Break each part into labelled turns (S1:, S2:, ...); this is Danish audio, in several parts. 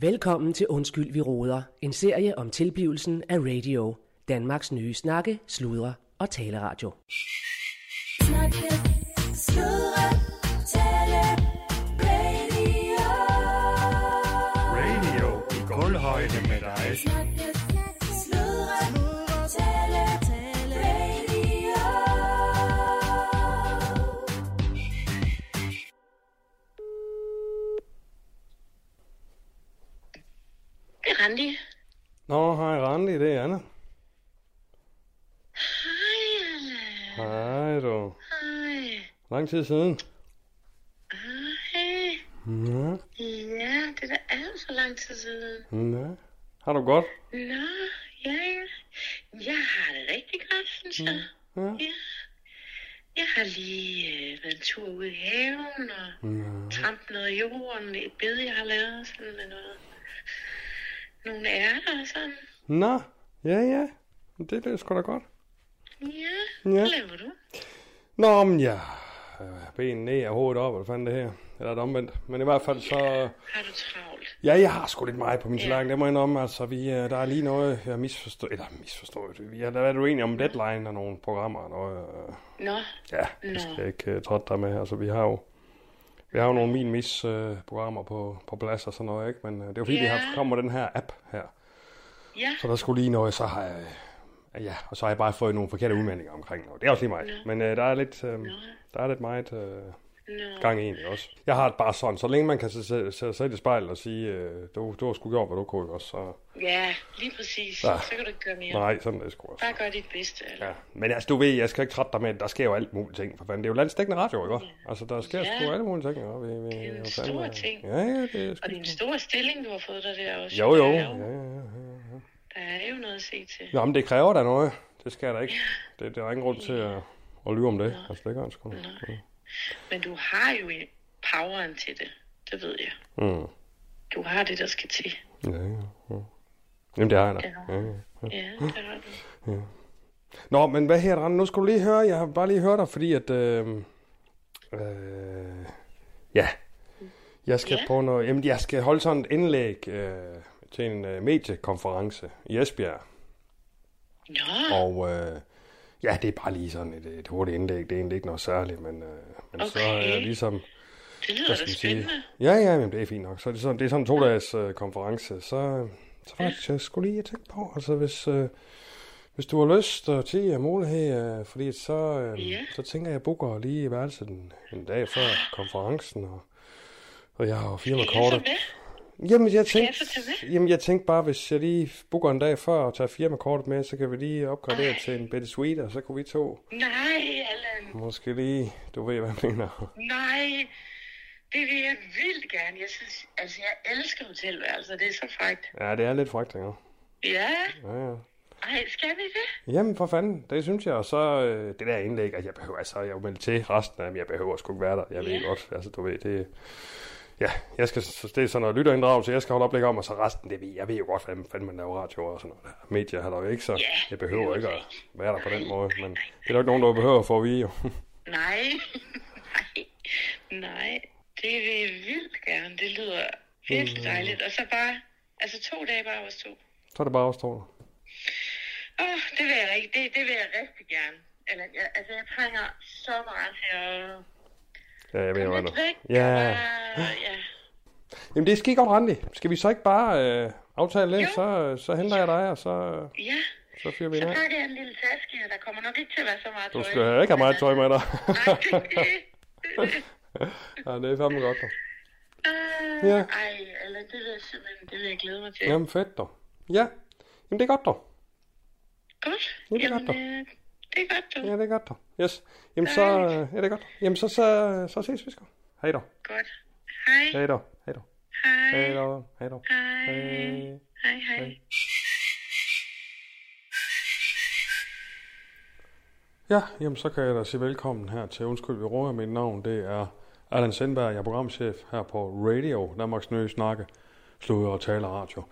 S1: Velkommen til Undskyld, vi råder. En serie om tilblivelsen af radio. Danmarks nye snakke, sludre og taleradio.
S2: Snakke, sludre, tale, radio.
S3: Radio i gulvhøjde med dig.
S2: Snakke, sludre, tale, tale, radio.
S4: Det er Randi.
S3: Nå, hej Randi, det er Anna.
S4: Hej, Anna.
S3: Hej du.
S4: Hej.
S3: Lang tid siden.
S4: Hej.
S3: Ja,
S4: Ja, det er da alt for lang tid siden.
S3: ja. Har du godt?
S4: Nå, ja, ja. Jeg har det rigtig godt, synes jeg.
S3: Ja.
S4: Ja. Jeg har lige øh, været en tur ude i haven og trampet noget i jorden. Et bed, jeg har lavet sådan med noget. Nogle ærter og sådan.
S3: Nå, ja, ja. Det lyder sgu da godt.
S4: Ja,
S3: Ja.
S4: hvad laver du?
S3: Nå, men ja. Øh, Ben ned og hovedet op, eller fanden det her. Eller er det omvendt. Men i hvert fald så...
S4: Har du travlt?
S3: Ja, jeg har sgu lidt meget på min tallerken. Det må jeg indrømme. Altså, vi, øh, der er lige noget, jeg misforstår. Eller misforstået. Vi har været uenige om deadline og nogle programmer. Og noget, øh,
S4: Nå,
S3: Ja,
S4: Nå.
S3: det skal jeg ikke uh, trætte dig med. Altså, vi har jo, vi har jo nogle min mis uh, programmer på, på plads og sådan noget, ikke? Men uh, det er jo fordi, yeah. vi
S4: Ja.
S3: har kommer den her app her.
S4: ja.
S3: Så der skulle lige noget, så har jeg... øh, Ja, og så har jeg bare fået nogle forkerte udmeldinger omkring noget. Det er også lige mig. Men uh, der, er lidt, uh, der er lidt meget uh,
S4: Nå.
S3: gang i egentlig også. Jeg har det bare sådan, så længe man kan se se- se sig i spejlet og sige, uh, du, du har sgu gjort, hvad du kunne, ikke også? Så,
S4: Ja, lige præcis.
S3: Ja.
S4: Så kan du ikke gøre mere.
S3: Ah. nej, sådan er det sgu også.
S4: Bare gør dit bedste. Eller?
S3: Ja, men altså, du ved, jeg skal ikke trætte dig med, at der sker jo alt muligt ting, for fanden. Det er jo landstækkende radio, ikke? Ja. Altså, der sker
S4: Ja.
S3: sgu alle mulige ting, ikke? Vi, vi, det
S4: er en stor ting.
S3: Ja, ja, det er sgu...
S4: Og det er en stor stilling, du har fået dig der også.
S3: Jo, jo.
S4: Der
S3: Ja, ja,
S4: er jo,
S3: ja.
S4: der er jo noget at se til.
S3: Nå, men det kræver da noget. Det skal der ikke. Det, der er ingen grund til at, at lyve om det. Altså, det gør han sgu. da. Ja.
S4: Men du har jo en- poweren til det. Det ved jeg.
S3: Mm.
S4: Du har det, der skal til.
S3: Ja, ja, ja. Jamen, det har han da.
S4: Ja.
S3: Ja, ja.
S4: Ja, det har du.
S3: Nå, men hvad her, Rand? Nu skal du lige høre. Jeg har bare lige hørt dig, fordi at... Øh, øh, ja. Jeg skal
S4: Ja.
S3: på noget... Jamen, jeg skal holde sådan et indlæg øh, til en øh, mediekonference i Esbjerg.
S4: Nå,
S3: Og øh, ja, det er bare lige sådan et, et hurtigt indlæg. Det er egentlig ikke noget særligt, men, øh, men så er jeg
S4: Okay.
S3: ligesom...
S4: det
S3: Hvad
S4: lyder da
S3: skal man sige?
S4: spændende.
S3: Ja, ja, jamen, det er fint nok. Så er det sådan, det er sådan en to-dages øh, konference. Så, så faktisk, jeg skulle lige tænke på, altså hvis, øh, hvis du har lyst øh, og tid og mulighed, øh, fordi så, øh,
S4: Ja.
S3: så tænker jeg, at jeg booker lige værelset en, en dag før konferencen, og, og jeg har jo
S4: Jeg så
S3: firmakortet.
S4: med.
S3: Jamen jeg,
S4: jeg
S3: tænkte,
S4: så tage
S3: jamen, jeg tænkte bare, hvis jeg lige booker en dag før og tager firmakortet med, så kan vi lige opgradere Ej. til en Betty Sweet, og så kunne vi to
S4: Nej, Allan.
S3: måske lige, du ved, hvad jeg mener.
S4: Nej. Det vil jeg vildt gerne. Jeg synes, altså jeg elsker hotelværelser. Det er så frækt.
S3: Ja, det er lidt frækt, ikke?
S4: Ja,
S3: Ja, ja.
S4: ej, skal vi det?
S3: Jamen for fanden, det synes jeg, og så øh, det der indlæg, at jeg behøver, altså jeg er jo meldt til resten af dem, jeg behøver sgu ikke være der, jeg ved
S4: Ja.
S3: godt, altså du ved, det, ja, jeg skal, så det er sådan noget lytterinddragelse, jeg skal holde oplæg om, og så resten, det ved, jeg ved jo godt, hvordan fanden man laver radio og sådan noget, medier har der jo ikke, så
S4: Ja,
S3: jeg
S4: det
S3: behøver
S4: er
S3: ikke
S4: jo
S3: at være der på den
S4: Nej,
S3: måde,
S4: nej,
S3: men
S4: nej,
S3: det er der jo ikke nogen, der behøver for at vide, jo.
S4: Nej, nej, nej. Det vil jeg vildt gerne. Det lyder
S3: Mm.
S4: virkelig dejligt. Og så bare, altså to dage bare os to.
S3: så er det bare os to.
S4: Åh, oh, det vil jeg rigtig, det, det vil jeg rigtig gerne. Eller, jeg, altså, jeg trænger så meget til at
S3: Ja, jeg ved,
S4: komme
S3: hvad
S4: lidt
S3: der.
S4: væk. og
S3: Ja,
S4: bare- ja.
S3: jamen det er skidt godt, Randi. Skal vi så ikke bare øh, aftale det, så, øh, så henter jeg dig, og så,
S4: Ja,
S3: så fyrer vi
S4: så
S3: den af.
S4: pakker jeg en lille taske, og der kommer nok ikke til at være så meget
S3: Du
S4: tøj.
S3: skal ikke have meget tøj med dig.
S4: Nej, det er det.
S3: ja, det er fandme godt, dog.
S4: Øh,
S3: Ja.
S4: Ej, eller det vil jeg simpelthen, det vil jeg glæde mig til.
S3: Jamen fedt dog. Ja, jamen det er godt dog.
S4: Godt.
S3: Ja, det er godt,
S4: øh, det er godt, du.
S3: Ja, det er godt dog. Yes. Jamen så, øh, ja, det er godt. Jamen så, så, så ses vi sgu. Hej dog.
S4: Godt. Hej.
S3: Hej dog. Hej dog.
S4: Hej.
S3: Hej dog. Hej dog.
S4: Hej.
S3: Hej.
S4: Hej, hej.
S3: Ja, jamen så kan jeg da sige velkommen her til Undskyld, vi råder. Mit navn det er Allan Sendberg. Jeg er programchef her på Radio, Danmarks Nye Snakke, Sluder og Taler Radio.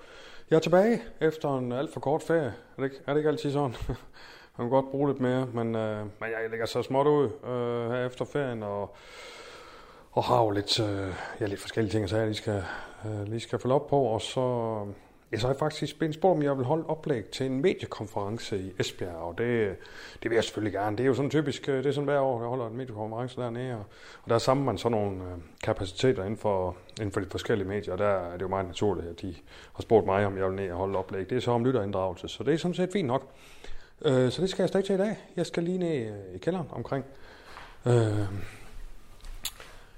S3: Jeg er tilbage efter en alt for kort ferie. Er det ikke, er det ikke altid sådan? Man kan godt bruge lidt mere, men, øh, men jeg lægger så småt ud øh, her efter ferien og, og har jo lidt, øh, ja, lidt forskellige ting, så jeg lige skal øh, lige skal følge op på. Og så, øh, ja, så har jeg faktisk blevet spurgt, om jeg vil holde et oplæg til en mediekonference i Esbjerg, og det, det vil jeg selvfølgelig gerne. Det er jo sådan typisk, øh, det er sådan hver år, jeg holder en mediekonference dernede, og, og der samler man sådan nogle øh, kapaciteter inden for, inden for de forskellige medier, og der er det jo meget naturligt, at de har spurgt mig, om jeg vil ned og holde et oplæg. Det er så om lytterinddragelse, så det er sådan set fint nok. Øh, så det skal jeg stadig til i dag. Jeg skal lige ned øh, i kælderen omkring. Øh,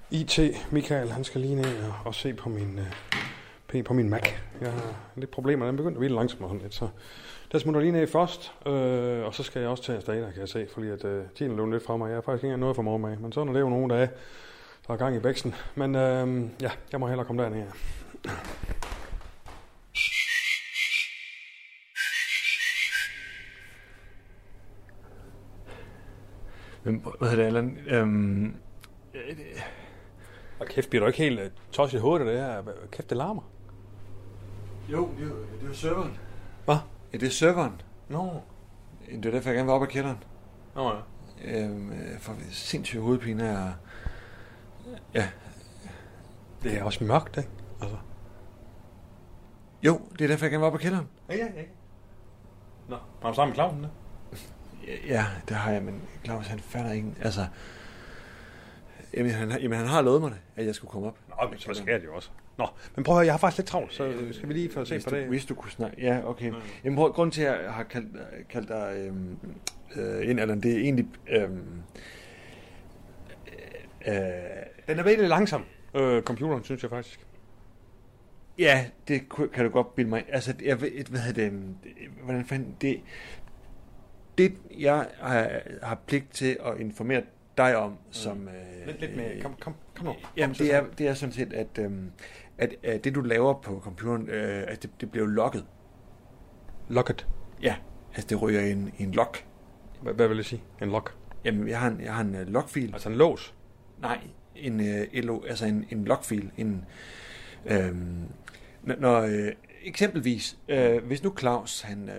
S3: IT, Michael, han skal lige ned og, og se på min, øh, på min Mac. Jeg har lidt problemer, den begynder at hvile langsomt og sådan lidt, så der smutter jeg lige ned først, øh, og så skal jeg også tage afsted, der kan jeg se, fordi at, øh, tiden løb lidt fra mig. Jeg har faktisk ikke engang noget for morgen med, men sådan er det jo nogle dage, der er gang i væksten. Men øh, ja, jeg må hellere komme derned her.
S5: Men, hvad hedder det, Allan? Øhm,
S3: Og kæft, bliver du ikke helt øh, tosset i hovedet af det her? Hvad- Kæft, det larmer.
S5: jo, det er jo- det er jo serveren.
S3: Hvad?
S5: Ja, det er serveren.
S3: Nå.
S5: Det er derfor, jeg gerne vil op ad kælderen.
S3: Nå ja.
S5: Øhm, jeg får sindssyge hovedpine og... Ja,
S3: Det er også mørkt, ikke? Altså.
S5: jo, det er derfor, jeg gerne vil op ad kælderen.
S3: Ja, ja, ja. Nå, har du sammen med Clausen,
S5: Ja, det har jeg, men Claus, han fatter ikke. Altså, jamen han, jamen, han har lovet mig det, at jeg skulle komme op.
S3: Nå, men så sker det jo også. Nå, men prøv at høre, jeg har faktisk lidt travlt, så øh, skal vi lige få se
S5: Hvis
S3: på
S5: du,
S3: det.
S5: hvis du kunne snakke. Ja, okay. Jamen, prøv, grunden til, at jeg har kaldt, kaldt dig øhm, øh, ind, Allan, det er egentlig... Øhm, øh, øh,
S3: Den er blevet lidt langsom, øh, computeren, synes jeg faktisk.
S5: Ja, det ku- kan du godt bilde mig. ind. Altså, jeg ved, hvad hedder det, øhm, det- hvordan fanden, det, det jeg har, har pligt til at informere dig om, som... Øh,
S3: Mm. Lidt, lidt med, kom, kom, kom nu.
S5: Jamen, det er, det er sådan set, at, øhm, at, at det, du laver på computeren, øh, at det, det bliver jo logget.
S3: Locket.
S5: Ja. Altså, det ryger i en, i en log.
S3: Hvad, hvad vil det sige? En lock.
S5: Jamen, jeg har en, jeg har en uh, logfil.
S3: Altså en lås.
S5: Nej, en øh, LO, altså en, en logfil. En, øhm, når- når, øh, eksempelvis, øh, hvis nu Claus han, øh,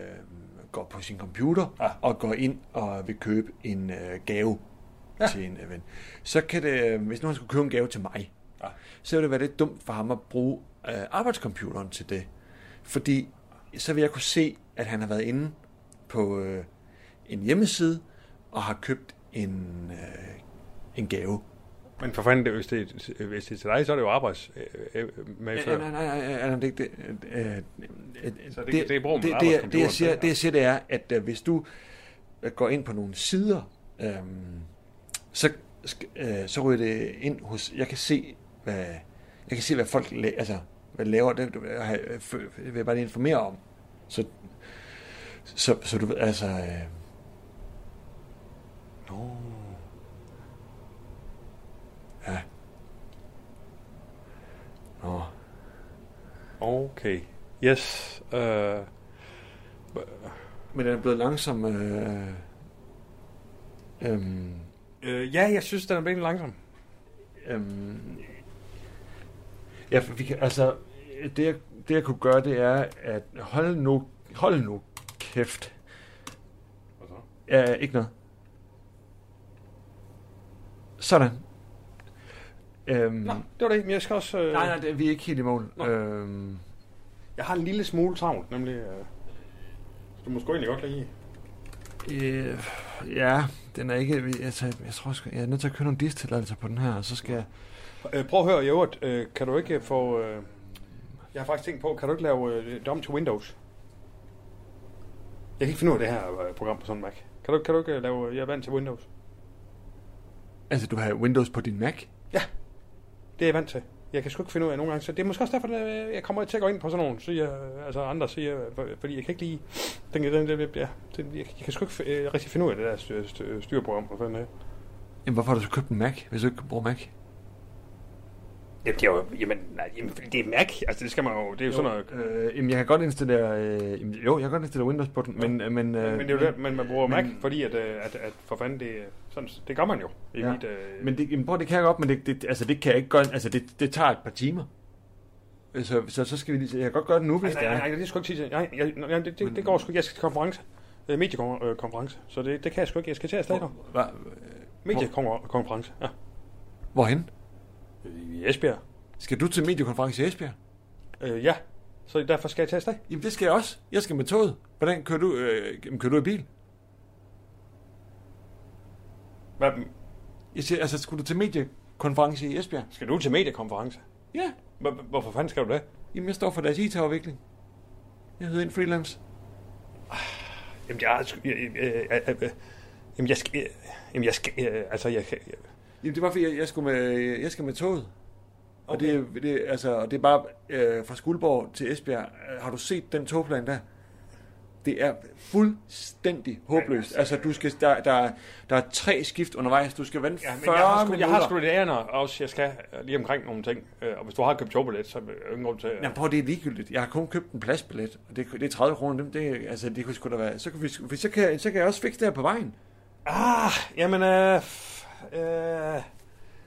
S5: går på sin computer
S3: Ja.
S5: ja. og går ind og vil købe en øh, gave
S3: Ja.
S5: ja. til en øh, ven, så kan det, øh, hvis nu han skulle købe en gave til mig,
S3: Ja.
S5: ja. så ville det være lidt dumt for ham at bruge øh, arbejdscomputeren til det. Fordi så vil jeg kunne se, at han har været inde på øh, en hjemmeside og har købt en, øh, en gave.
S3: Men for fanden, det, hvis, det, er- hvis det er til dig, så er det jo arbejds øh, øh, med
S5: Nej, nej, nej, nej, nej, nej, det er ikke det. Øh, øh, øh,
S3: Så det- det er brugen
S5: det,
S3: af
S5: det, jeg- det,
S3: arbejdscomputeren,
S5: jeg siger,
S3: det er.
S5: det, jeg siger, det er, at øh, hvis du øh, går ind på nogle sider, øh, så, sk- øh, så ryger det ind hos... Jeg kan se, hvad, jeg kan se, hvad folk la- altså, hvad laver. Det, det vil jeg have- øh, fø- det vil jeg bare lige informere om. Så, så, så du ved, altså... Øh,
S3: Nå.
S5: ja. Nå.
S3: Okay. Yes. Øh,
S5: Men den er blevet langsom... Øh, øh,
S3: øh, ja, jeg synes, den er blevet langsom.
S5: Øhm, ja, for vi kan, altså, det jeg, det jeg kunne gøre, det er, at hold nu, hold nu kæft.
S3: Hvad så?
S5: Ja, ikke noget. Sådan. Øhm,
S3: Nå, det var det. Men jeg skal også... Øh,
S5: nej, nej, det, vi er ikke helt i mål.
S3: Nå.
S5: Øhm,
S3: Jeg har en lille smule travlt, nemlig... Øh, du må sgu egentlig godt lide.
S5: øh, ja, den er ikke... vi- Altså, jeg tror, jeg, skal, jeg er nødt til at købe nogle distilladelser på den her, og så skal jeg...
S3: Øh, prøv at høre, i øvrigt, øh, kan du ikke øh, få... Øh, jeg har faktisk tænkt på, kan du ikke lave øh, det om til Windows? Jeg kan ikke finde ud af det her øh, program på sådan en Mac. Kan du, kan du ikke øh, lave... Jeg er vant til Windows.
S5: Altså, du har Windows på din Mac?
S3: Det er jeg vant til. Jeg kan sgu ikke finde ud af nogle gange, så det er måske også derfor, at øh, jeg kommer til at gå ind på sådan nogle, siger, øh, altså andre siger, øh, for- fordi jeg kan ikke lige, den, den, den, ja, den, jeg, jeg kan sgu ikke øh, rigtig finde ud af det der styr, styr, styrprogram, hvad fanden er.
S5: Jamen, hvorfor har du så købt en Mac, hvis du ikke bruger Mac?
S3: Jamen, det er jo, jamen, nej, jamen, det er Mac, altså det skal man jo, det er jo, sådan noget,
S5: Øh, jamen, jeg kan godt installere... Øh, jamen, jo, jeg kan godt installere Windows på den, men... Øh, men, øh,
S3: Men det er jo det, men man bruger Mac,
S5: men-
S3: fordi at, øh, at, at for fanden, det, er sådan, det gør man jo. I ja.
S5: Ja.
S3: mit, øh,
S5: Men det, jamen, prøv, det kan jeg godt, men det, det, altså, det kan jeg ikke godt... Altså, det, det tager et par timer. Øh, Så, så, så skal vi lige... Jeg kan godt gøre det nu,
S3: nej,
S5: hvis
S3: nej, nej,
S5: det
S3: nej,
S5: er.
S3: det er sgu ikke tid til. Nej, jeg, nej, det, det, det går sgu ikke. Jeg skal til konference. Øh, mediekonference. Så det, det kan jeg sgu ikke. Jeg skal til at starte.
S5: Hva, øh,
S3: Mediekonference. Ja.
S5: hvorhen?
S3: I Esbjerg.
S5: Øh, Skal du til mediekonference i Esbjerg?
S3: Øh, ja, så derfor skal jeg til afsted.
S5: Jamen, det skal jeg også. Jeg skal med toget. Hvordan kører du? Øh, jamen, kører du i bil?
S3: Hvad,
S5: Jeg siger, altså, skulle du til mediekonference i Esbjerg?
S3: skal du til mediekonference?
S5: Ja.
S3: Hva- Hvorfor fanden skal du det?
S5: Jamen, jeg står for deres IT-afvikling. Jeg hedder en freelance.
S3: Jamen, jeg, jeg, jeg, jeg, jeg, jeg, jamen, jeg skal... Jamen, jeg skal... øh, Altså, jeg kan... jeg-
S5: Jamen, det var fordi, jeg, jeg, skulle med, jeg skal med toget. Og
S3: Okay.
S5: det, det, altså, og det er bare øh, fra Skuldborg til Esbjerg. Øh, Har du set den togplan der? Det er fuldstændig håbløst. Altså, du skal, der, der, er- der er tre skift undervejs. Du skal vente
S3: Ja,
S5: 40
S3: men jeg har sgu,
S5: minutter.
S3: jeg har sgu lidt ære, også jeg skal øh, lige omkring nogle ting. Øh, Og hvis du har købt togbillet, så er der ingen grund til... øh. at-
S5: Jamen, prøv, det er ligegyldigt. Jeg har kun købt en pladsbillet, og det, det er 30 kroner. Dem, det, altså, det kunne sgu da være... Så kan, vi, sgu- for så kan, jeg- så kan jeg også fikse det her på vejen.
S3: Ah, jamen, øh, f- øh,
S5: Kunne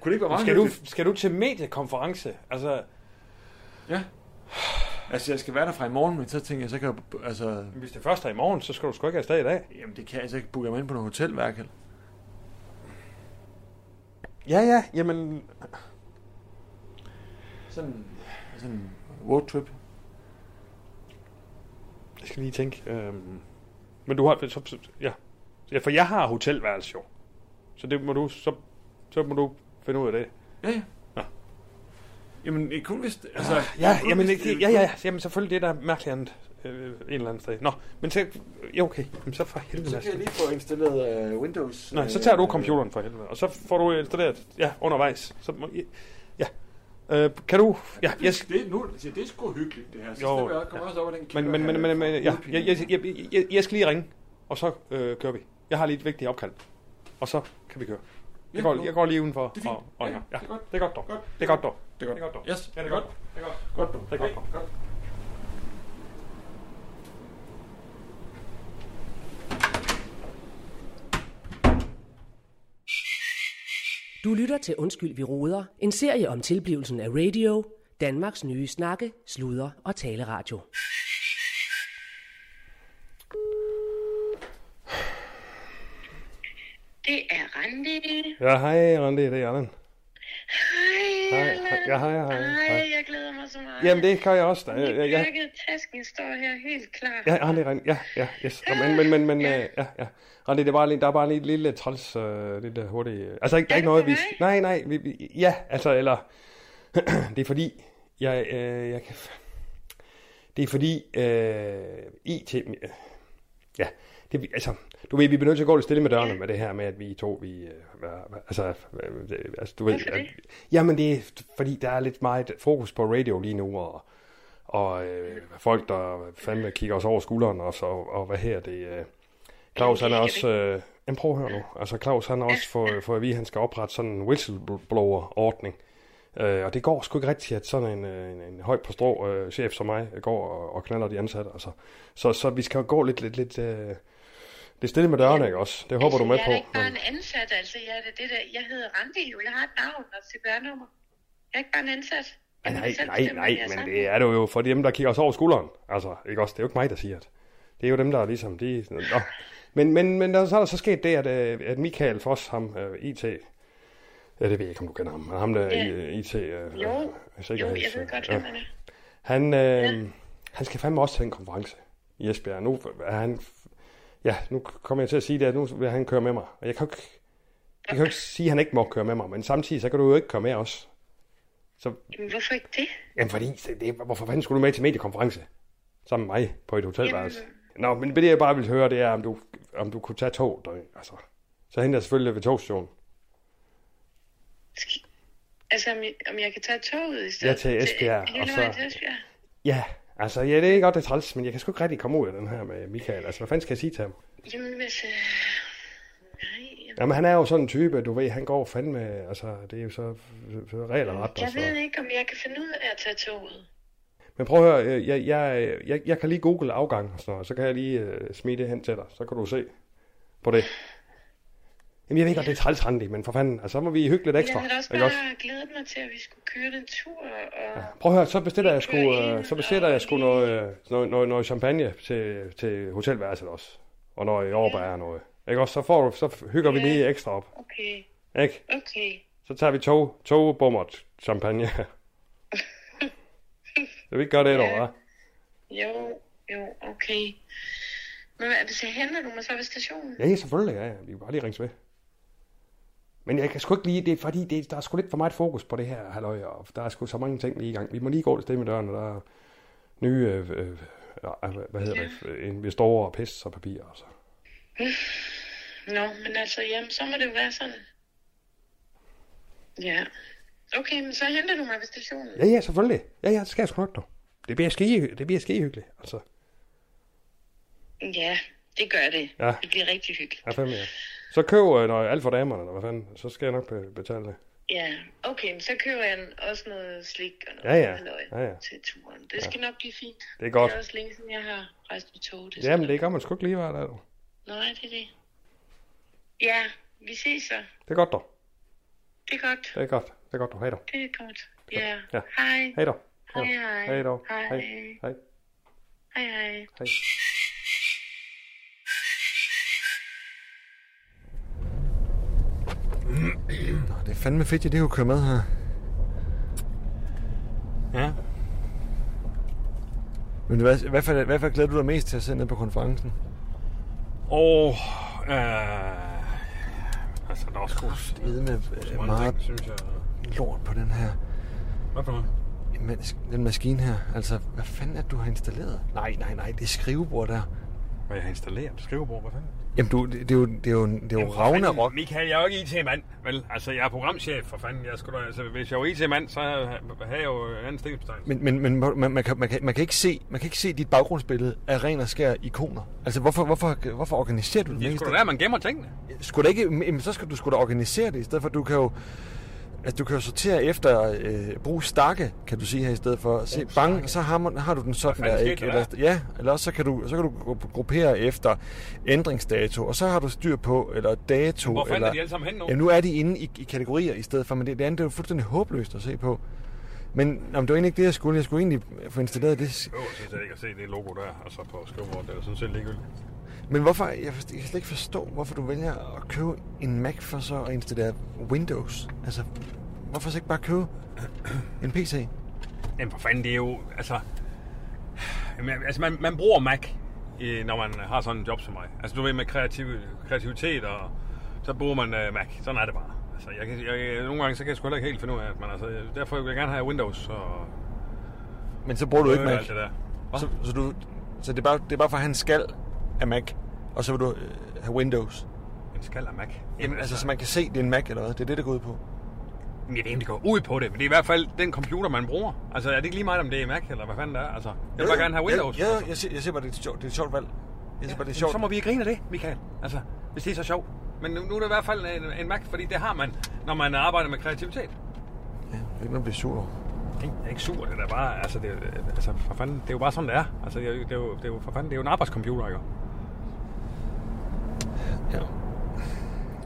S5: det ikke være meget
S3: skal, du,
S5: hyggeligt?
S3: skal du til mediekonference? Altså,
S5: Ja. Altså, jeg skal være der fra i morgen, men så tænker jeg, så kan jeg... Altså,
S3: hvis det først er i morgen, så skal du sgu ikke afsted i dag.
S5: jamen, det kan jeg altså ikke booke mig ind på noget hotelværk. Eller?
S3: Ja, ja, jamen...
S5: Sådan, sådan en roadtrip.
S3: Jeg skal lige tænke. Øhm, men du har... Så, så, ja. ja, for jeg har hotelværelse jo. Så det må du... Så, så må du finde ud af det.
S5: Ja, ja. Jamen, det er kun hvis... Altså,
S3: Ja,
S5: kun
S3: jamen,
S5: hvis
S3: ikke,
S5: det-
S3: ja, ja, ja, jamen selvfølgelig det der er mærkeligt andet øh, en eller anden sted. Nå, men så, ja, okay, jamen, så for helvede.
S5: Så
S3: lad os
S5: kan jeg
S3: det.
S5: lige få installeret øh, Windows.
S3: Nej, så
S5: øh,
S3: tager du
S5: øh,
S3: computeren for helvede, og så får du installeret, ja, undervejs. Så, må- ja, øh, kan du, ja, jeg,
S5: Det, det, nu, altså, det er sgu hyggeligt, det her. Så
S3: Jo,
S5: jo, jeg kommer også over den
S3: men,
S5: kæmpe-
S3: men, men, men, men ja, jeg,
S5: hovedpine.
S3: jeg, jeg, jeg, jeg skal lige ringe, og så øh, kører vi. Jeg har lige et vigtigt opkald, og så kan vi køre. Jeg går, jeg går lige udenfor
S5: Det er fint.
S3: og, og
S5: Ja,
S3: ringer. Ja,
S5: det er godt.
S3: det er godt dog.
S5: Godt.
S3: Det er godt dog.
S5: Det er godt.
S3: Det er godt dog.
S5: Yes,
S3: Ja, det er godt. Det er godt.
S5: Godt, du.
S3: Det er godt, du.
S5: godt.
S1: Du lytter til Undskyld, vi roder. En serie om tilblivelsen af radio. Danmarks nye snakke, sludre og taleradio.
S4: Det er Randi.
S3: Ja, hej Randi, det er Allan.
S4: Hej,
S3: Hej,
S4: Allan.
S3: hej. Ja, hej, hej, hej.
S4: Hej, jeg glæder mig så meget.
S3: Jamen det kan jeg også. da.
S4: Jeg,
S3: Jeg, jeg,
S4: tasken står her helt klar.
S3: Ja, ja, det er rigtigt. Ja, ja, yes. Ja, men, men, men, men øh, ja, ja. Randi, det er bare lige, der er bare lige et lille træls, øh, lille hurtigt... Øh. Altså, ikke, der er ikke
S4: Er det
S3: noget,
S4: for
S3: vi...
S4: mig?
S3: Nej, nej, vi, vi, ja, altså, eller... det er fordi, jeg, øh, jeg kan... Det er fordi, øh, IT... øh, Ja, det, vi- altså, du ved, vi bliver nødt til at gå lidt stille med dørene med det her med, at vi to, vi, øh, hva- hva- altså, øh, det- altså, du ved...
S4: Hvorfor det?
S3: at- Jamen, det er, fordi der er lidt meget fokus på radio lige nu, og, og øh, folk, der fandme kigger os over skulderen også, og, og hvad her det... Øh, Claus, han er også... Øh, jamen, prøv at høre nu. Altså, Claus, han har også fået, fået at vide, at han skal oprette sådan en whistleblower-ordning. Øh, og det går sgu ikke rigtigt, at sådan en, øh, en, en højt på strå øh, chef som mig øh, går og, og knaller de ansatte. Altså. Så, så vi skal jo gå lidt, lidt, lidt, øh, lidt stille med dørene, ikke også? Det håber
S4: altså,
S3: du er med
S4: jeg
S3: på.
S4: er da ikke bare
S3: men-
S4: en ansat, altså. Jeg, er da det der, jeg hedder Randi, jo. Jeg har et navn og CPR-nummer. Jeg er ikke bare en ansat. altså. Jeg
S3: Nej,
S4: kan selv
S3: nej,
S4: bestemme, hvad
S3: nej,
S4: jeg
S3: men
S4: sammen
S3: det er det jo for dem, der kigger os over skulderen. Altså, ikke også? Det er jo ikke mig, der siger det. Det er jo dem, der er ligesom... De, nå. Men, men, men der, så er der så sket det, at, øh, at Michael Foss, ham øh, IT... Ja, det ved jeg ikke, om du kender ham. men Ham der
S4: Ja.
S3: yeah. IT... Øh,
S4: Jo,
S3: øh,
S4: Jo,
S3: sikkerheds-
S4: jeg ved godt, hvem han er.
S3: han, øh, han skal fandme også til en konference i Esbjerg. Nu er han... Ja, nu kommer jeg til at sige det, at nu vil han køre med mig. Og jeg kan jo ikke, jeg kan jo ikke sige, at han ikke må køre med mig, men samtidig så kan du jo ikke køre med os. Så
S4: Jamen, hvorfor ikke det?
S3: Jamen fordi, det, det, hvorfor fanden skulle du med til mediekonference? Sammen med mig på et hotelværelse. Nå, men det jeg bare ville høre, det er, om du, om du kunne tage tog. Der, altså. Så henter jeg selvfølgelig ved togstationen.
S4: Sk- Altså, om jeg, om jeg kan tage toget i
S3: Ja,
S4: stedet?
S3: til Esbjerg,
S4: Til, hele
S3: og så-
S4: vejen til Esbjerg.
S3: Ja, altså, ja, det er godt, det er træls, men jeg kan sgu ikke rigtig komme ud af den her med Michael. Altså, hvad fanden skal jeg sige til ham?
S4: Jamen, hvis... Øh... Nej, jamen,
S3: Jamen, han er jo sådan en type, du ved, han går fandme, altså, det er jo så, så- så regler ret.
S4: jeg
S3: altså.
S4: ved ikke, om jeg kan finde ud af at tage toget.
S3: Men prøv at høre, øh, jeg, jeg, jeg, jeg kan lige google afgang og sådan noget, så kan jeg lige øh, smide det hen til dig, så kan du se på det. Jamen jeg ved godt, det er træls Randi, men for fanden, altså, så må vi hygge lidt
S4: Jeg
S3: ekstra.
S4: havde da også
S3: ikke også?
S4: bare glædet mig til, at vi skulle køre den tur, og... Ja.
S3: Prøv at høre, så bestiller jeg sgu,
S4: Køre ind
S3: øh, så bestiller
S4: og
S3: jeg sgu
S4: lige-
S3: noget, øh, noget, noget, noget champagne til, til hotelværelset også. Og noget jordbær og noget. Ikke også? Så, får du, så hygger vi
S4: Ja.
S3: lige ekstra op.
S4: Okay,
S3: Ikke?
S4: okay.
S3: Så tager vi tog, togbummert champagne. Skal vi ikke gøre det et
S4: Ja.
S3: år, hva'?
S4: Jo, jo, okay. Men hvad, så henter du mig så ved stationen?
S3: Ja, ja, selvfølgelig, ja. ja. Vi kan bare lige ringes ved. Men jeg kan sgu ikke lige, det er fordi, det, der er sgu lidt for meget fokus på det her, halløj, og der er sgu så mange ting lige i gang. Vi må lige gå et sted med døren, og der er nye, øh, øh, øh, hvad hedder det, øh, investorer og pis og papir og så.
S4: Nå, men altså, jamen, så må det jo være sådan. Ja. Okay, men så henter du mig ved stationen.
S3: Ja, ja, selvfølgelig. Ja, ja, det skal jeg sgu nok, dog. Det bliver ski, det bliver ski hyggeligt, altså.
S4: Ja, det gør det.
S3: Ja.
S4: Det bliver rigtig hyggeligt.
S3: Ja, fandme, ja. Så køb øh, noget alt for damerne, eller hvad fanden, så skal jeg nok be- betale det.
S4: Ja, okay, men så køber jeg en- også noget slik og
S3: Ja,
S4: noget
S3: ja.
S4: halløj
S3: Ja, ja.
S4: til turen. Det skal nok blive fint.
S3: Det er godt.
S4: Det er også længe siden, jeg har rejst med tog. Det
S3: Jamen, det
S4: er...
S3: gør man sgu ikke lige hver dag, dog.
S4: Nej, det er det. Ja, vi ses så.
S3: Det er godt, dog.
S4: Det er godt.
S3: Det er godt. Det er godt, dog. Hej, dog.
S4: Det er godt. Ja.
S3: Ja.
S4: Hej.
S3: Hej, dog.
S4: Hej, hej.
S3: Hej, dog.
S4: Hej.
S3: Hej. Hej.
S4: Hej, hej.
S3: Hej.
S5: Nå, det er fandme fedt, at det kunne køre med her.
S3: Ja.
S5: Men hvad, hvad, for, hvad for glæder du dig mest til at sidde ned på konferencen?
S3: Og... Øh, altså, der er også god
S5: Det med øh, meget
S3: synes jeg.
S5: lort på den her
S3: Hvad for noget?
S5: imens- den maskine her. Altså, hvad fanden er det, du har installeret? Nej, nej, nej, det er skrivebord der.
S3: Hvad jeg har installeret? Skrivebord, hvad fanden?
S5: Jamen, du, det, det, er jo, det er jo, det er jo Ragnarok.
S3: Michael, jeg er jo ikke IT-mand. Vel, altså, jeg er programchef, for fanden. Jeg skulle da, altså, hvis jeg var IT-mand, så havde havde jeg jo en anden stillingsbetegnelse.
S5: Men, men, men man, man, kan, man, kan, man, kan ikke se, man kan ikke se dit baggrundsbillede af ren og skær ikoner. Altså, hvorfor, hvorfor, hvorfor organiserer du det?
S3: Det er
S5: mest?
S3: sgu da der, man gemmer tingene.
S5: Skulle da ikke, jamen, så skal du skulle da organisere det i stedet for. Du kan jo, altså, du kan jo sortere efter øh, brug stakke, kan du sige her i stedet for. Se, bang, så har, man, har du den sådan
S3: Hvad
S5: der,
S3: fanden
S5: ikke?
S3: skete der
S5: Eller, ja, eller også så kan, du, så kan du gru- gruppere efter ændringsdato, og så har du styr på, eller dato.
S3: Hvor fanden
S5: eller,
S3: er de alle sammen henne nu?
S5: Jamen, nu er de inde i, i kategorier i stedet for, men det, det andet det er jo fuldstændig håbløst at se på. Men om det var egentlig ikke det, jeg skulle. Jeg skulle egentlig få installeret det.
S3: Jo, jeg synes jeg ikke at se det logo der, altså på skrivebordet. Det er jo sådan set ligegyldigt.
S5: Men hvorfor, jeg, forst- jeg kan slet ikke forstå, hvorfor du vælger at købe en Mac for så at installere Windows. Altså, hvorfor så ikke bare købe en PC?
S3: Jamen for fanden, det er jo, altså... Jamen, altså man, man bruger Mac, i, når man har sådan en job som mig. Altså du ved, med kreativ, kreativitet, og så bruger man øh, Mac. Sådan er det bare. Altså, jeg, kan- jeg, nogle gange så kan jeg sgu heller ikke helt finde ud af, at man, altså, derfor vil jeg gerne have Windows og
S5: Men så bruger du ikke
S3: øh,
S5: Mac.
S3: alt det der. Hva?
S5: Så, så, du, så det, er bare, det er bare for, at han skal af Mac, og så vil du øh, have Windows.
S3: En skal af Mac.
S5: Jamen, altså, så man kan se, det er en Mac eller hvad. Det er det, der går ud på.
S3: jeg ved ikke, om det går ud på det, men det er i hvert fald den computer, man bruger. Altså, er det ikke lige meget, om det er Mac, eller hvad fanden det er? Altså, jeg vil bare gerne have Windows.
S5: Ja, ja
S3: altså.
S5: jeg, siger, jeg siger bare, det er et sjovt, det er et sjovt valg. Jeg siger bare, det er
S3: Jamen,
S5: sjovt.
S3: så må vi jo grine af det, Michael. Altså, hvis det er så sjovt. Men nu nu er det i hvert fald en, en Mac, fordi det har man, når man arbejder med kreativitet.
S5: Ja, det er ikke noget at blive sur over.
S3: Det er ikke sur, det er da bare, altså, det, er- altså for fanden, det er jo bare sådan, det er. Altså, det er, jo- det er, jo, det er jo, for fanden, det er jo en arbejdscomputer, ikke?
S5: Ja.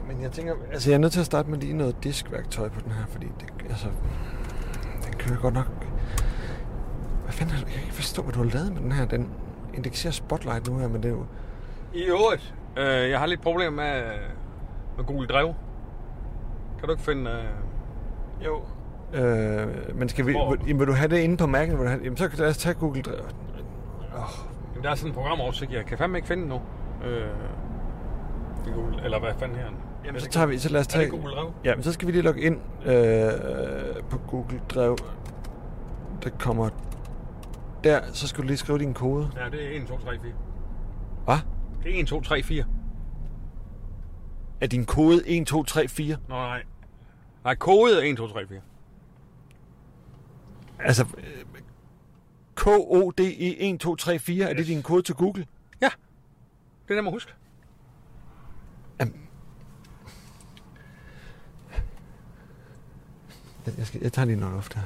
S5: Men jeg tænker, altså jeg er nødt til at starte med lige noget diskværktøj på den her, fordi det, altså, den kører godt nok. Hvad fanden har du, jeg kan ikke forstå, hvad du har lavet med den her. Den indekserer Spotlight nu her, men det er jo...
S3: I øvrigt, øh, jeg har lidt problemer med, øh, med Google Drive. Kan du ikke finde... Øh...
S5: Jo. Øh, men skal vi,
S3: Hvor-
S5: vil, jamen, vil du have det inde på Mac'en? Vil du have, jamen, så kan lad os tage Google Drive.
S3: Jamen, der er sådan en programoversigt, jeg kan fandme ikke finde nu. Øh, i Google, eller hvad fanden her?
S5: Jamen, så, tager vi, så lad os
S3: Er
S5: tage...
S3: det Google Drive?
S5: Ja, men så skal vi lige logge ind øh, på Google Drive. Der kommer... Der, så skal du lige skrive din kode.
S3: Ja, det er 1, 2, 3, 4.
S5: Hvad?
S3: Det er 1, 2, 3, 4.
S5: Er din kode 1, 2, 3, 4?
S3: Nå, nej. Nej, kode 1, 2, 3, 4.
S5: Altså, øh, K-O-D-E 1, 2, 3, 4, er det din kode til Google?
S3: Ja, det er nemt at huske.
S5: Jeg, jeg, skal, jeg tager lige noget luft her.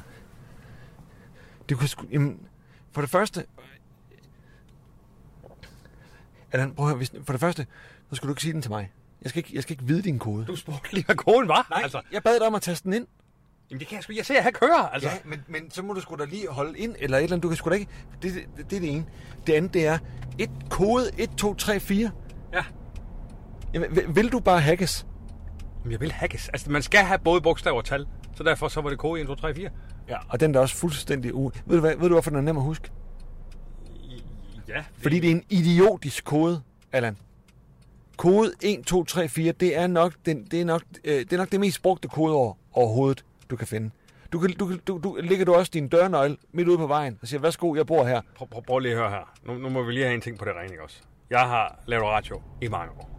S5: Det kunne sgu, jamen, for det første... Allan, prøv at høre, hvis, for det første, så skal du ikke sige den til mig. Jeg skal ikke, jeg skal ikke vide din kode.
S3: Du spurgte lige, hvad koden var.
S5: Nej,
S3: altså.
S5: altså. jeg bad dig om at taste den ind.
S3: Jamen, det kan jeg sgu. Jeg ser, at jeg kører. Altså.
S5: Ja, men, men så må du sgu da lige holde ind, eller et eller andet. Du kan sgu da ikke... Det, det, det er det ene. Det andet, det er et kode 1, 2, 3, 4.
S3: ja.
S5: Jamen, vil, vil du bare hackes?
S3: Jamen, jeg vil hackes. Altså, man skal have både bogstaver og tal. Så derfor så var det kode 1, 2, 3, 4. Ja.
S5: Og den er da også fuldstændig u... Ved du, hvad, ved du, hvorfor den er nem at huske?
S3: Ja.
S5: Fordi det er en idiotisk kode, Allan. Kode 1, 2, 3, 4, det er nok, den, det, er nok, øh, det, er nok det mest brugte kodeord overhovedet, du kan finde. Du kan, du, kan- du, du, ligger du også din dørnøgle midt ude på vejen og siger, værsgo, jeg bor her.
S3: Prøv, prøv, prøv lige at høre her. Nu, nu må vi lige have en ting på det rene, ikke også? Jeg har lavet radio i mange år.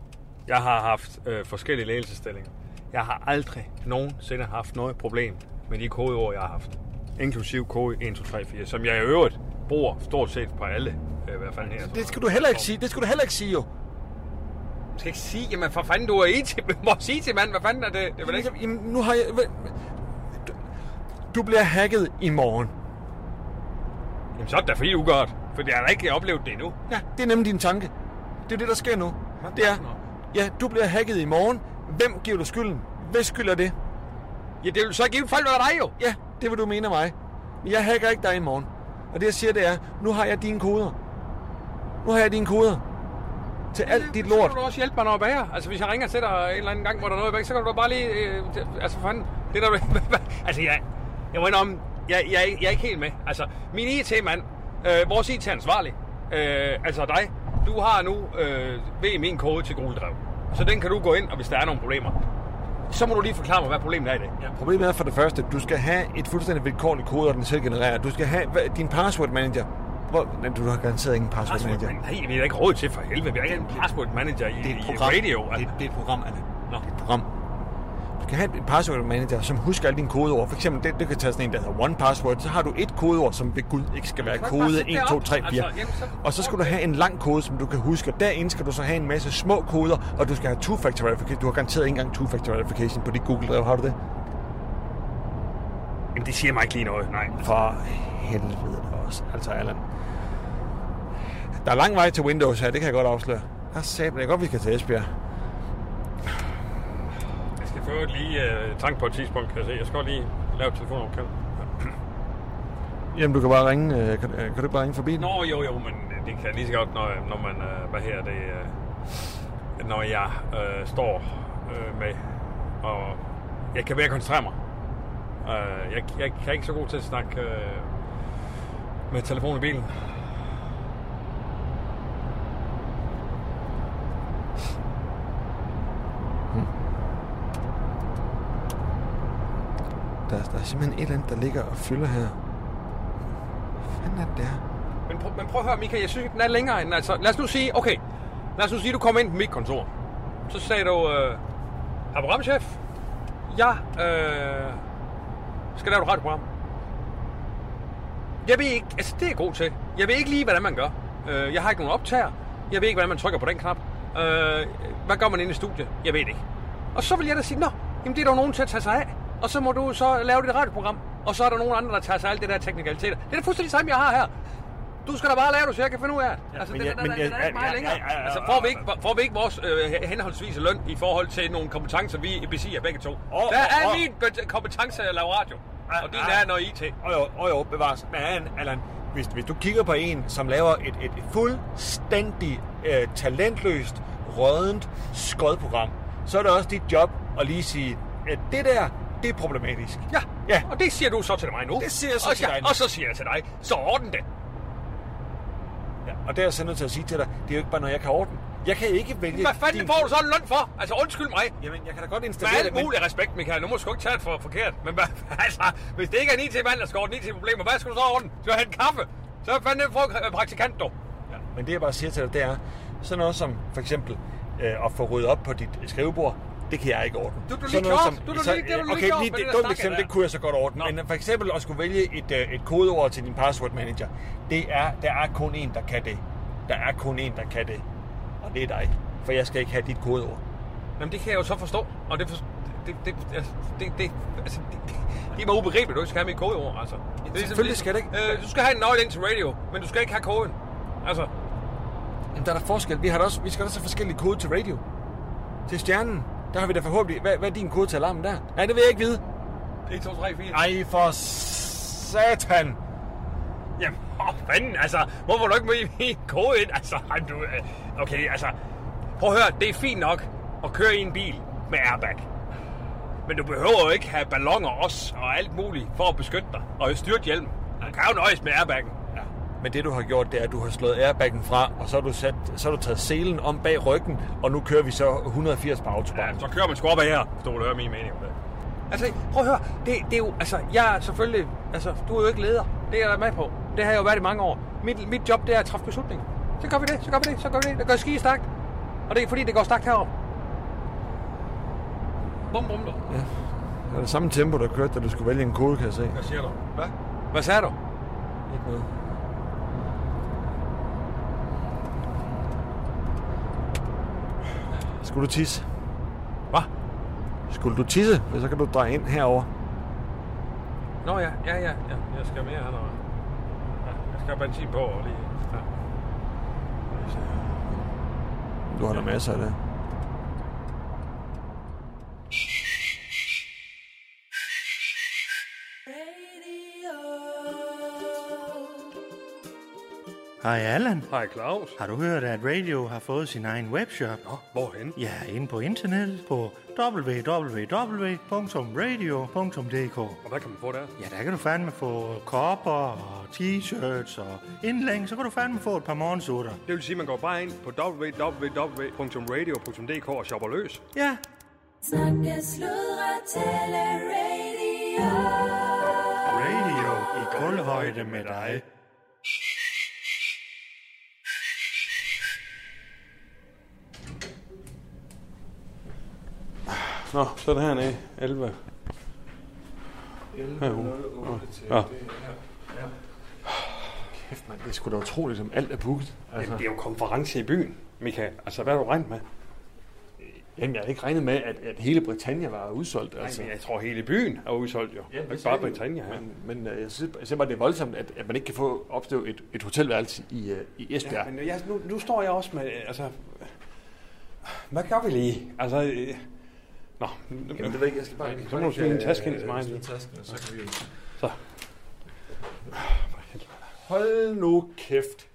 S3: Jeg har haft øh, forskellige ledelsesstillinger. Jeg har aldrig nogensinde haft noget problem med de kodeord, jeg har haft. Inklusiv kode 1, 2, 3, 4, som jeg i øvrigt bruger stort set på alle. Øh, i hvert fald her.
S5: Det skal du heller ikke sige, det skal du heller ikke sige jo.
S3: Jeg skal ikke sige, jamen for fanden, du er IT, vores IT-mand, hvad fanden er det? Det er vel ikke...
S5: Jamen, nu har jeg... Du- Du bliver hacket i morgen.
S3: Jamen så er det da fordi, du gør det. Fordi jeg har da ikke oplevet det endnu.
S5: Ja, det er nemlig din tanke. Det er det, der sker nu. Det er, ja, du bliver hacket i morgen. Hvem giver du skylden? Hvad skylder det?
S3: Ja, det vil så give folk være dig jo.
S5: Ja, det vil du mene af mig. Men jeg hacker ikke dig i morgen. Og det jeg siger, det er, nu har jeg dine koder. Nu har jeg dine koder. Til alt dit
S3: Så
S5: lort.
S3: kan du også hjælpe mig, når jeg bager. Altså, hvis jeg ringer til dig en eller anden gang, hvor der er noget væk, så kan du da bare lige... Øh, t- altså, for fanden. Det der... altså, jeg... Jeg må indrømme, jeg, jeg, jeg er ikke helt med. Altså, min IT-mand, øh, vores IT-ansvarlig, øh, altså dig, du har nu øh, ved min kode til gruledrev. Så den kan du gå ind, og hvis der er nogle problemer, så må du lige forklare mig, hvad problemet er i det. Ja.
S5: Problemet er for det første, du skal have et fuldstændig vilkårligt kode, og den selv genererer. Du skal have hvad- din password manager. Hvor, nej, du har garanteret ingen password
S3: Password
S5: manager.
S3: manager. Altså, Nej, vi har da ikke råd til for helvede. Vi har ikke en password manager i, i radio.
S5: Det,
S3: Altså.
S5: det er et program, Anna.
S3: Nå.
S5: Det er et program. Du kan have et password manager, som husker alle dine kodeord. For eksempel, det, du kan tage sådan en, der hedder one password. Så har du et kodeord, som ved Gud ikke skal være
S3: kan ikke bare
S5: kode
S3: sætte
S5: 1,
S3: det
S5: 2,
S3: op.
S5: 3, 4.
S3: Altså, jamen, så-
S5: Og så skal du have en lang kode, som du kan huske. Og derinde skal du så have en masse små koder, og du skal have two-factor verification. Du har garanteret ikke engang two-factor verification på dit Google-drev. Har du det?
S3: Jamen, det siger mig ikke lige noget. Nej.
S5: For helvede da også. Altså, Allan. Der er lang vej til Windows her, det kan jeg godt afsløre. Der sagde jeg godt, vi skal til Esbjerg.
S3: Jeg skal få lige øh, tanke på et tidspunkt, kan jeg se. Jeg skal godt lige lave et telefonopkald.
S5: Jamen, du kan bare ringe. øh, Kan, øh, kan du ikke bare ringe forbi? den?
S3: Nå, jo, jo, men det kan jeg lige så godt, når, når man, øh, hvad her det, øh, når jeg øh, står øh, med, og jeg kan være koncentrere mig. Øh, jeg, jeg, jeg er ikke så god til at snakke øh, med telefonen i bilen.
S5: Der, der er simpelthen et eller andet, der ligger og fylder her. Hvad fanden er det der?
S3: Men, prøv, men prøv at høre, Michael, jeg synes ikke, den er længere end, altså, lad os nu sige, okay, lad os nu sige, du kom ind på mit kontor. Så sagde du, øh, "Herr programchef, jeg øh, skal lave et radioprogram. Jeg ved ikke, altså det er jeg god til. Jeg ved ikke lige, hvordan man gør. Øh, jeg har ikke nogen optager. Jeg ved ikke, hvordan man trykker på den knap. Øh, hvad gør man inde i studiet? Jeg ved det ikke. Og så vil jeg da sige, nå, jamen det er der jo nogen til at tage sig af. Og så må du så lave dit radioprogram. Og så er der nogen andre, der tager sig af alt det der teknikaliteter. Det er da fuldstændig samme, jeg har her. Du skal da bare lave det, så jeg kan finde ud af det. Ja, altså,
S5: men
S3: det,
S5: jeg-
S3: jeg,
S5: men
S3: der,
S5: jeg-
S3: der, der, er ikke
S5: ja, ja,
S3: meget længere.
S5: ja, ja, ja,
S3: Altså, får vi ikke, får vi ikke vores øh, henholdsvise løn i forhold til nogle kompetencer, vi besidder begge to? der er
S5: åh. Ah,
S3: min be- kompetence at lave radio, og din er noget IT.
S5: Åh jo, åh jo, bevares. Men Allan, hvis, hvis du kigger på en, som laver et, et fuldstændig øh, talentløst, rådent skodprogram, så er det også dit job at lige sige, at det der, det er problematisk.
S3: Ja.
S5: Ja.
S3: og det siger du så til mig nu.
S5: Det siger jeg så
S3: og
S5: til dig nu.
S3: Og så siger jeg til dig, så orden det.
S5: Ja, og det er jeg så nødt til at sige til dig, det er jo ikke bare noget, jeg kan ordne. Jeg kan ikke vælge...
S3: Hvad fanden får du så en løn for? Altså, undskyld mig.
S5: Jamen, jeg kan da godt
S3: Med
S5: installere det,
S3: alt mulig respekt, Michael. Nu må du sgu ikke tage det for forkert. Men hvad, altså, hvis det ikke er en IT-mand, der skal ordne IT-problemer, hvad skal du så ordne? Skal du have en kaffe? Så er fanden en øh, praktikant, dog.
S5: Ja, men det jeg bare siger til dig, det er sådan noget som for eksempel øh, at få ryddet op på dit skrivebord, det kan jeg ikke ordne.
S3: Du- du lige
S5: Sådan noget
S3: gjort. Du- du lige- det har du lige
S5: okay,
S3: gjort
S5: lige
S3: med
S5: det,
S3: det der
S5: dumt
S3: snak
S5: eksempel,
S3: der.
S5: det kunne jeg så godt ordne.
S3: Nå.
S5: Men øh, for eksempel at skulle vælge et, øh, et kodeord til din password manager, det er, der er kun en, der kan det. Der er kun en, der kan det. Og det er dig. For jeg skal ikke have dit kodeord.
S3: Jamen, det kan jeg jo så forstå. Og det, for, det, det, altså, det, det, altså, det, det, det er bare ubegribeligt, at du ikke skal have mit kodeord, altså. Det er
S5: selvfølgelig skal det ikke.
S3: Øh, du skal have en nøgle ind til radio, men du skal ikke have koden. Altså,
S5: Jamen, der er der forskel. Vi, har da også, vi skal også have forskellige kode til radio. Til stjernen, der har vi da forhåbentlig... Hvad, hvad er din kode til alarmen der? Nej, det vil jeg ikke vide.
S3: 1, 2, 3, 4.
S5: Ej, for satan!
S3: Jamen, åh, fanden, altså, hvorfor er du ikke med i min kode ind? Altså, ej, du, øh, okay, altså, prøv at høre, det er fint nok at køre i en bil med airbag.
S6: Men du behøver jo ikke have ballonger også og alt muligt for at beskytte dig. Og styrt hjelm. Du kan jo nøjes med airbaggen.
S5: Ja.
S7: Men det du har gjort, det er, at du har slået airbaggen fra, og så har du, sat, så har du taget selen om bag ryggen, og nu kører vi så 180 på autobahn.
S6: Ja, så kører man sgu op af her, hvis du vil høre min mening om det. Altså, prøv at høre, det, det er jo, altså, jeg er selvfølgelig, altså, du er jo ikke leder, det er jeg da med på. Det har jeg jo været i mange år. Mit, mit job, det er at træffe beslutninger. Så gør vi det, så gør vi det, så gør vi det. Det gør skide stærkt. Og det er fordi, det går stærkt heroppe. Bum, bum, dum.
S7: Det var det samme tempo, der kørte, da du skulle vælge en kode, kan jeg se.
S6: Hvad siger du? Hvad? Hvad sagde du?
S7: Ikke noget. Skulle du tisse?
S6: Hvad?
S7: Skulle du tisse? For så kan du dreje ind herover.
S6: Nå ja, ja, ja, ja. Jeg skal mere her, noget. Ja, jeg skal have benzin på og lige... Ja.
S7: Du har der masser af det.
S8: Hej Allan.
S3: Hej Claus.
S8: Har du hørt, at Radio har fået sin egen webshop?
S3: Nå, hvorhen?
S8: Ja, inde på internettet på www.radio.dk.
S3: Og hvad kan man få der?
S8: Ja, der kan du fandme få kopper og t-shirts og indlæng, så kan du fandme få et par morgensutter.
S3: Det vil sige, at man går bare ind på www.radio.dk og shopper løs.
S8: Ja,
S2: Snakke, sludre, tale, radio.
S8: radio i kulhøjde med dig.
S3: Nå, så er det hernede. 11. 11. Ja.
S5: Kæft, mand, det er sgu da utroligt, som alt er booket. Altså,
S3: Jamen, det er jo konference i byen, Michael. Altså, hvad har du regnet med?
S5: jamen, jeg havde ikke regnet med, at, at hele Britannia var udsolgt.
S3: Altså,
S5: Altså.
S3: jeg tror, hele byen er udsolgt jo. Ja, ikke bare Britannia. Ja.
S5: Men, men øh, jeg, synes, jeg synes bare, det er voldsomt, at, at man ikke kan få opstået et, et hotelværelse i, øh, i Esbjerg.
S3: Ja, men jeg, nu, nu står jeg også med, øh, altså, hvad gør vi lige? Altså, øh, nå,
S5: Jamen, det ved jeg ikke, jeg skal bare...
S3: så må du smide en taske ind til mig.
S5: så kan vi
S3: Så.
S5: Hold nu kæft.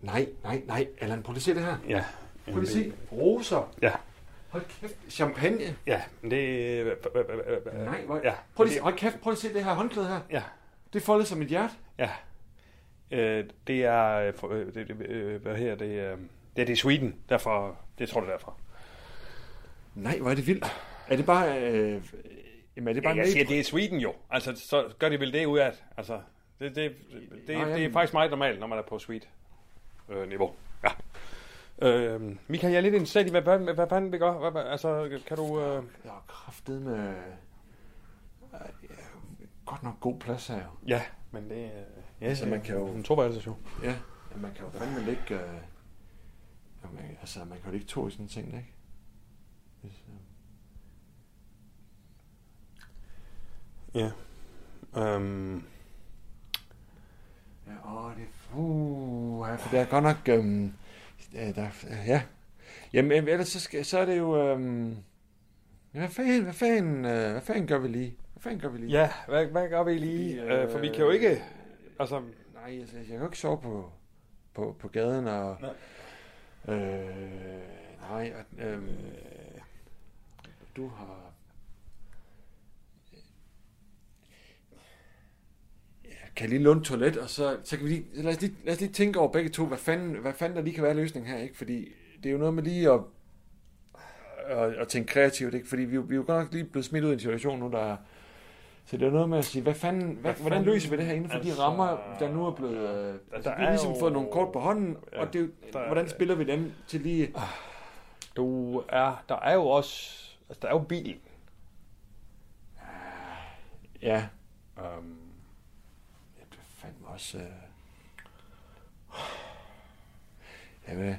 S5: Nej, nej, nej. Allan, prøv lige at se det her.
S3: Ja,
S5: Prøv lige at se. Roser.
S3: ja,
S5: Hold kæft. Champagne.
S3: ja, men det, øh, hva- hva- hva- hva- hva-
S5: Nej, hvor...
S3: ja,
S5: Prøv lige, at se- hold kæft, prøv lige at se det her håndklæde her.
S3: ja,
S5: Det er foldet som et hjerte.
S3: ja, øh, det er, øh, for- øh, det, det- øh, hvad her, det, øh, det er det er Sweden, derfor, det tror du derfor.
S5: Nej, hvor er det vildt. Er det bare... Øh, jamen, er det bare...
S3: Jeg
S5: en
S3: siger,
S5: metro-
S3: det er Sweden jo, altså, så gør de vel det ud af, at- altså, det, det, det, det,
S5: Nå,
S3: det er
S5: jamen.
S3: faktisk meget normalt, når man er på suite øh, niveau. Ja. Øh, Michael, jeg er lidt interesseret i, hvad, hvad, hvad, hvad fanden vi gør. Hvad, hvad, altså, kan du... Øh,
S5: Jeg er kraftet med... Godt nok god plads her jo.
S3: ja, men det... Øh, ja,
S5: Så man kan jo-
S3: En toværelses jo.
S5: Ja. ja man kan jo fandme ligge... Øh, jamen, altså, man kan jo ligge to i sådan en ting, ikke? Hvis, øh,
S3: Ja. Øhm,
S5: Ja, åh, det er... Uh, ja, for det er godt nok... Øhm, øh, der, øh, ja. Jamen, øh, ellers så, skal, så er det jo... Øhm, ja, hvad fanden, hvad fanden, øh, hvad fanden gør vi lige? Hvad fanden gør vi lige?
S3: ja, hvad, hvad gør vi lige?
S5: Øh,
S3: Øh, for vi kan jo ikke... Altså,
S5: Nej, altså, jeg kan jo ikke sove på, på, på gaden og...
S3: Nej. Øh,
S5: Øh, nej, og, øhm, du har... Ja, kan jeg lige låne et toilet, og så, så kan vi lige, så lad, os lige, lad os lige tænke over begge to, hvad fanden, hvad fanden der lige kan være løsningen her, ikke? Fordi det er jo noget med lige at, at, at tænke kreativt, ikke? Fordi vi, er jo- vi er jo godt nok lige blevet smidt ud i en situation nu, der er- så det er noget med at sige, hvad fanden, hvad, hvad hvordan løser vi det her inden for altså,
S3: altså,
S5: de rammer, der nu er blevet... Øh, altså, vi
S3: er
S5: har ligesom
S3: jo-
S5: fået nogle kort på hånden,
S3: Ja,
S5: ja, og det er,
S3: der
S5: jo-
S3: er-
S5: hvordan spiller vi dem til lige...
S3: du er... Der er jo også... Altså, der er jo bilen.
S5: Ja,
S3: Øhm,
S5: Ja, det er fandme også... Øh... Ja, hvad...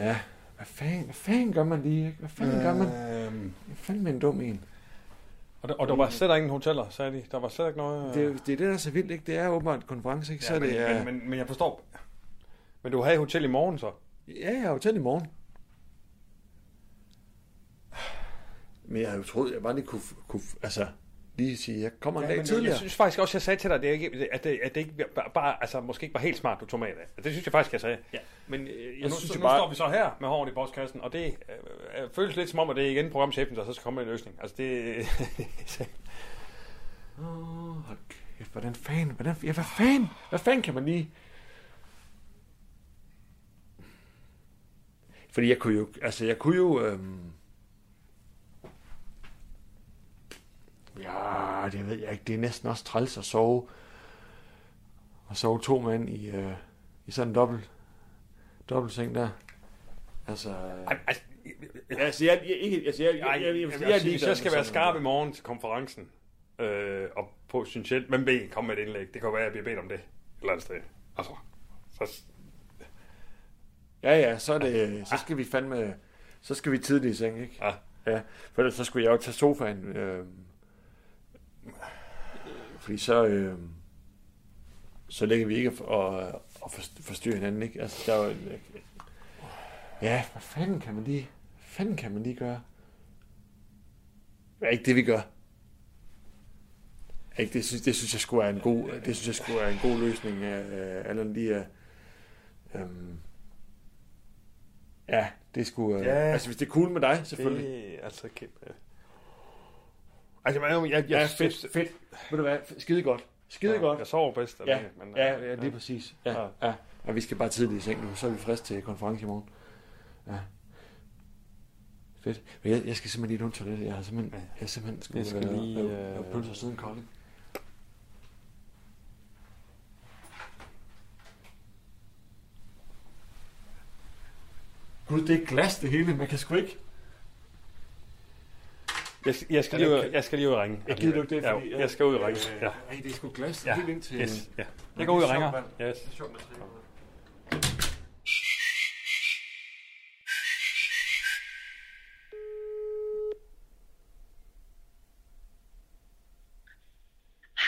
S5: Ja, hvad fanden, hvad fanden gør man lige, ikke? Hvad fanden gør man?
S3: øhm,
S5: Det er fandme en dum en.
S3: og, der, og der var slet ingen hoteller, sagde de. Der var slet ikke noget... øh,
S5: Mm. Det er, jo- det er det, der er så vildt, ikke? Det er åbenbart en konference, ikke? Så
S3: Ja,
S5: er
S3: men,
S5: det...
S3: men,
S5: Øh...
S3: men, men jeg forstår. Men du havde hotel i morgen så?
S5: Ja, jeg har jo tændt i morgen. Men jeg havde jo troet, jeg bare lige kunne... kunne altså, lige sige, jeg kommer en dag
S3: Men jeg
S5: tidligere.
S3: synes faktisk også, jeg sagde til dig, at det ikke, at det, at det ikke bare, altså, måske ikke var helt smart, du tog med i dag. Det synes jeg faktisk, jeg sagde. Ja. Men øh, jeg nu,
S9: nu
S3: synes,
S9: så-
S3: nu
S9: nu bare-
S3: står vi så her med håret i postkassen, og det øh, øh, føles lidt som om, at det er igen programchefen, der så skal komme med en løsning. Altså det...
S5: Åh, hold kæft, hvordan fanden, hvordan, ja, hvad fanden, hvad fanden kan man lige? Fordi jeg kunne jo, altså jeg kunne jo, øhm... ja, det ved jeg ikke, det er næsten også træls at sove, at sove to mænd i, øh, i sådan en dobbelt, dobbelt seng der. Altså, øh,
S3: Ej, altså,
S5: altså jeg, jeg, ikke, altså, jeg, jeg,
S3: Ej,
S5: jeg, jeg, jeg, jeg,
S3: jeg, hvis jeg skal være skarp i morgen til konferencen, øh, og potentielt, men B, kom med et indlæg. Det kan jo være, at jeg bliver bedt om det et eller andet sted. Altså, så,
S5: Ja, ja, så, er det, så skal vi fandme... Så skal vi tidligt i seng, ikke?
S3: Ja.
S5: ja for ellers så skulle jeg jo tage sofaen. Øh, fordi så... Øh, så ligger vi ikke og, og forst- forstyrrer hinanden, ikke? Altså, der er jo en, Ja, hvad fanden kan man lige... Hvad fanden kan man lige gøre? Det er ikke det, vi gør. Ikke, det, synes, det synes jeg skulle er en god, det synes jeg skulle er en god løsning af øh, alle lige øh, øhm, Ja, det skulle øh, ja,
S3: Ja.
S5: altså hvis det er cool med dig selvfølgelig. Det,
S3: det, altså, kæmpe. Altså, jeg, jeg,
S5: ja,
S3: jeg,
S5: fedt, fedt. Ved du hvad? Skide godt. Skide
S3: Ja,
S5: godt.
S3: Jeg sover bedst.
S5: Ja,
S3: alene, men,
S5: ja,
S3: øh,
S5: ja, lige præcis.
S3: Ja.
S5: Ja, ja. Og vi skal bare tidligt i seng nu, så er vi friske til konference i morgen. Ja. Fedt. Men jeg, jeg skal simpelthen lige et ondt toilet. Jeg har simpelthen, jeg har simpelthen skulle
S3: Jeg skal
S5: være,
S3: lige,
S5: lige, være,
S3: øh,
S5: være pølser siden Kolding. Gud, det er glas det hele. Man kan sgu ikke.
S3: Jeg, skal- jeg, skal
S5: Ja,
S3: lige
S5: det
S3: ud,
S5: kan-
S3: jeg skal lige ud og ringe.
S5: Jeg gider du ikke det,
S3: Ja,
S5: fordi...
S3: jeg skal ud og ringe.
S5: Øh,
S3: Ja.
S5: Ej, det er sgu glas
S3: Ja.
S5: ja. helt ind til...
S3: Yes, ja.
S5: det
S3: Jeg går ud og
S5: er sjovt,
S3: ringer.
S5: mand.
S3: Yes.
S5: Det er sjovt, man træner.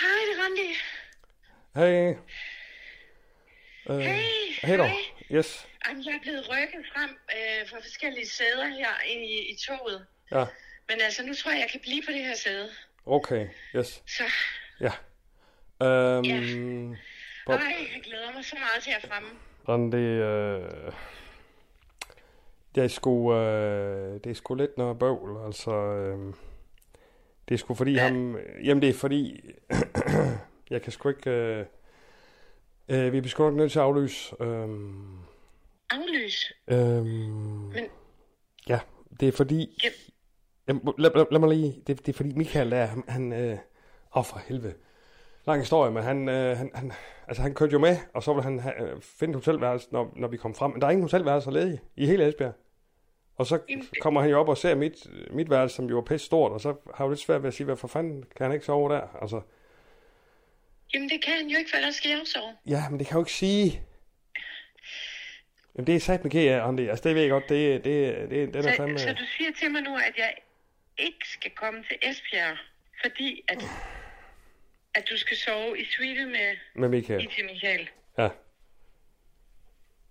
S4: Hej, det er Randi.
S3: Hej. Øh,
S4: Hey,
S3: Hej dog.
S4: hej.
S3: Yes.
S4: Jamen, jeg er blevet rykket frem øh, fra forskellige sæder her ind i, i toget.
S3: Ja.
S4: Men altså, nu tror jeg, jeg kan blive på det her sæde.
S3: Okay. Yes.
S4: Så,
S3: Ja. Øhm, Bob.
S4: ej, jeg glæder mig så meget til at fremme.
S3: Randi, øh, det er sgu, øh, det er sgu lidt noget bøvl, altså, øh, det er sgu fordi ham, jamen det er fordi, jeg kan sgu ikke, øh, øh, vi er sgu nok nødt til at aflyse, øh,
S4: Aflys.
S3: Øhm,
S4: Men-
S3: Ja, det er fordi...
S4: Gen-
S3: Jamen, lad, lad, lad mig lige... Det, det er fordi Michael der, han... han øh, åh, for helvede. Lang historie, men han, øh, han, han, altså, han kørte jo med, og så ville han ha, øh, finde et hotelværelse, når, når vi kom frem. Men der er ingen hotelværelser ledige i hele Esbjerg. Og så
S4: Jamen, det-
S3: kommer han jo op og ser mit, mit værelse, som jo er pisse stort, og så har jeg jo lidt svært ved at sige, hvad for fanden kan han ikke sove der? Altså,
S4: Jamen, det kan han jo ikke, for ellers skal jeg jo sove.
S3: Ja, men det kan jeg jo ikke sige. Jamen, det er sat med GA, Randi. Altså, det ved jeg godt. Det, det, det, den er fandme...
S4: Så, så du siger til mig nu, at jeg ikke skal komme til Esbjerg, fordi at, at du skal sove i suite med
S3: Med Michael.
S4: IT Michael.
S3: Ja.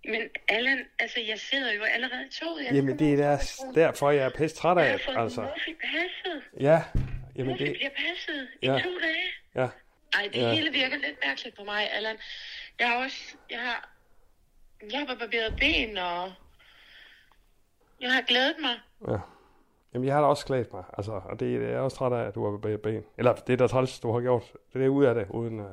S4: Men Allan, altså jeg sidder jo allerede i toget. Jeg
S3: Jamen, det er der, derfor, jeg er pisse træt
S4: Jeg har
S3: af,
S4: fået
S3: altså.
S4: altså. Murphy passet.
S3: Ja, jamen
S4: Murphy
S3: det...
S4: bliver passet
S3: Ja.
S4: i to dage.
S3: Ja,
S4: Ej, det
S3: Ja.
S4: ja. hele virker lidt mærkeligt på mig, Allan. Jeg har også... Jeg har... Jeg har barberet ben, og... Jeg har glædet mig.
S3: ja. Jamen, jeg har da også klædt mig, altså. Og det jeg er også træt af, at du har bevæget ben. Eller, det er da træls, du har gjort. Det er ud af det, uden... Uh...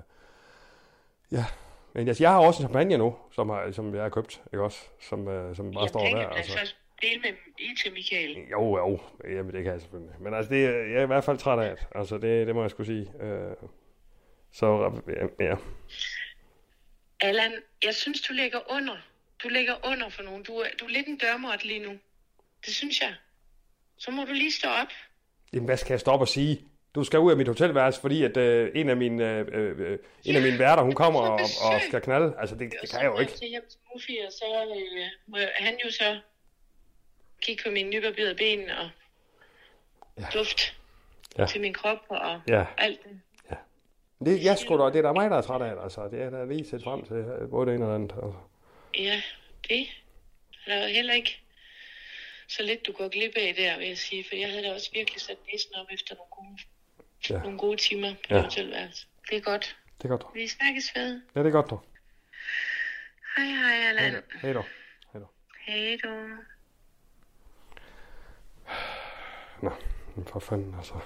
S3: Ja. Men altså, jeg har også en champagne nu, som, har, som jeg har købt, ikke også? Som, uh, som bare
S4: jeg
S3: står
S4: tænker,
S3: der,
S4: at jeg
S3: altså.
S4: så dele med IT Michael.
S3: Jo, jo, jamen det kan jeg selvfølgelig. Men altså, det, er- jeg er i hvert fald træt af det. Altså, det, det må jeg skulle sige. Øh, så, ja, ja.
S4: Allan, jeg synes, du ligger under. Du ligger under for nogen. Du er, du er lidt en dørmåt lige nu. Det synes jeg. Så må du lige stå op.
S3: Jamen, hvad skal jeg stoppe og sige? Du skal ud af mit hotelværelse, fordi at øh, en af mine, øh, øh, en af mine værter, hun kommer og, og skal knalde. Altså, det, det kan jeg jo
S4: Så
S3: ikke.
S4: jeg hjem til Muffy, og så øh, må jeg- han jo så kigge på mine nybarberede ben og ja. duft
S3: Ja.
S4: ja. til min krop og
S3: Ja.
S4: alt det.
S3: Det, jeg sgu da, det er da mig, der er træt af det, altså. Det er da lige set frem til øh, både det ene og det andet. Altså.
S4: Ja, det er der jo heller ikke så lidt, du går glip af der, vil jeg sige. For jeg havde da også virkelig sat næsen op efter nogle gode
S3: Ja.
S4: nogle gode timer på
S3: Ja.
S4: ja. hotelværelse. Det er godt.
S3: Det er godt. dog.
S4: Vi snakkes ved.
S3: Ja, det er godt, dog.
S4: Hej hej, Allan.
S3: Hej dog. Hej dog.
S4: Hej du.
S3: Nå, men for fanden altså.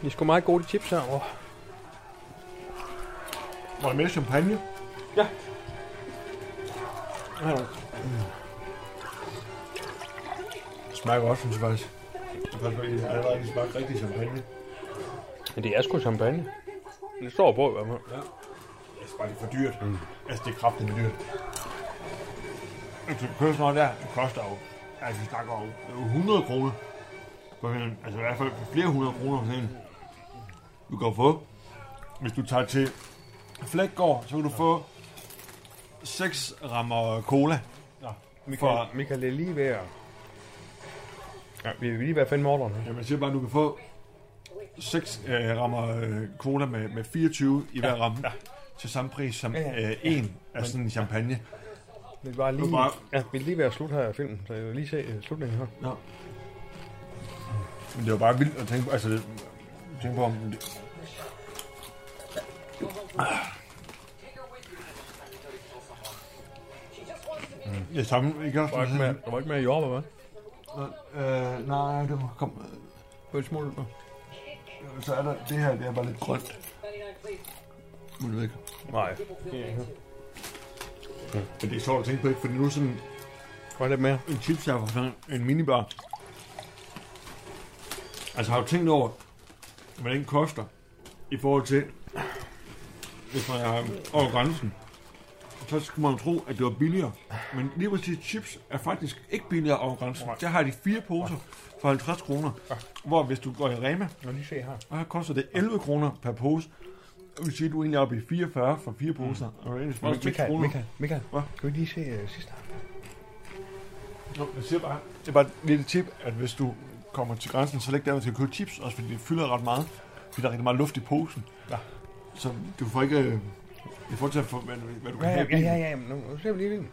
S3: De er sgu meget gode, de chips herovre.
S10: Var der mere champagne? Det smager godt, synes jeg faktisk. Jeg faktisk godt, at allerede det smager rigtig champagne.
S3: Men det er sgu champagne. Det står på i hvert fald. Ja.
S10: Det er bare lidt for dyrt. Mm. Altså, det er kraftigt dyrt. Altså, købe sådan noget der, det koster jo, altså, vi snakker jo øh, 100 kroner. For sådan en- altså, i hvert fald for flere hundrede kroner for sådan en. Du kan jo få, hvis du tager til Flækgaard, så kan du få 6 rammer øh, cola.
S3: Michael, Michael, det er lige ved at... Ja, vi er lige ved at finde morderen.
S10: Ja, man siger bare, at du kan få 6 øh, rammer øh, cola med, med 24 i hver ramme. Ja. Til samme pris som
S3: Ja, ja.
S10: øh, en af sådan en champagne.
S3: Vi er bare
S10: Det
S3: lige,
S10: er bare-
S3: ja, vi er lige ved at slutte her af filmen, så jeg vil lige se øh, slutningen her.
S10: Nå. Men det var bare vildt at tænke på, altså, det- tænke på, om det, Ah. det samme, ikke også? Med,
S3: der var ikke mere jordbær, hva'?
S10: øh, nej, det var, kom,
S3: På et smule.
S10: øh, så er der, det her, det er bare lidt grønt. Men jeg ved ikke.
S3: Nej,
S10: Men det er sjovt at tænke på, ikke? Fordi nu er sådan
S3: der var lidt mere.
S10: en chips her fra sådan en minibar. Altså har du tænkt over, hvad den koster i forhold til, hvis man er over grænsen? Så skulle man jo tro, at det var billigere. Men lige præcis chips er faktisk ikke billigere over grænsen. Der har de fire poser for 50 kroner. Hvor hvis du går i Rema,
S3: Nå, lige se her.
S10: og her koster det 11 kroner per pose. Det vil sige, at du er egentlig oppe i 44 for fire poser. Og det er egentlig
S3: Mm. Michael,
S10: 6
S3: Michael,
S10: kroner.
S3: Michael, Michael.
S10: Hva?
S3: Kan vi lige se uh, sidste
S10: Nå, jeg siger bare, det er bare et lille tip, at hvis du kommer til grænsen, så læg der, man skal købe chips, også fordi det fylder ret meget, fordi der er rigtig meget luft i posen.
S3: Ja.
S10: Så du får ikke... øh, I forhold til at få, hvad, du- hvad du kan
S3: Ja,
S10: have
S3: ja, ja,
S10: i bilen.
S3: ja, ja, men nu, nu ser vi lige filmen.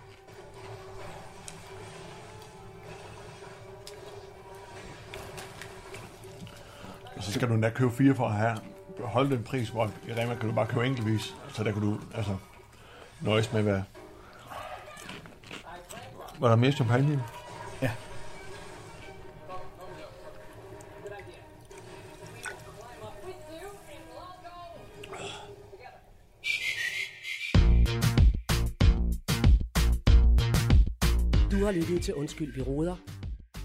S10: Og Så skal du endda købe fire for at have, holde den pris, hvor i Rema kan du bare købe enkeltvis, så der kan du altså nøjes med, hvad... Var der mere champagne?
S3: Ja.
S1: Du har lyttet til Undskyld, vi råder.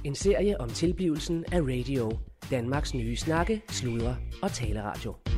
S1: En serie om tilblivelsen af radio. Danmarks nye snakke, sludre og taleradio.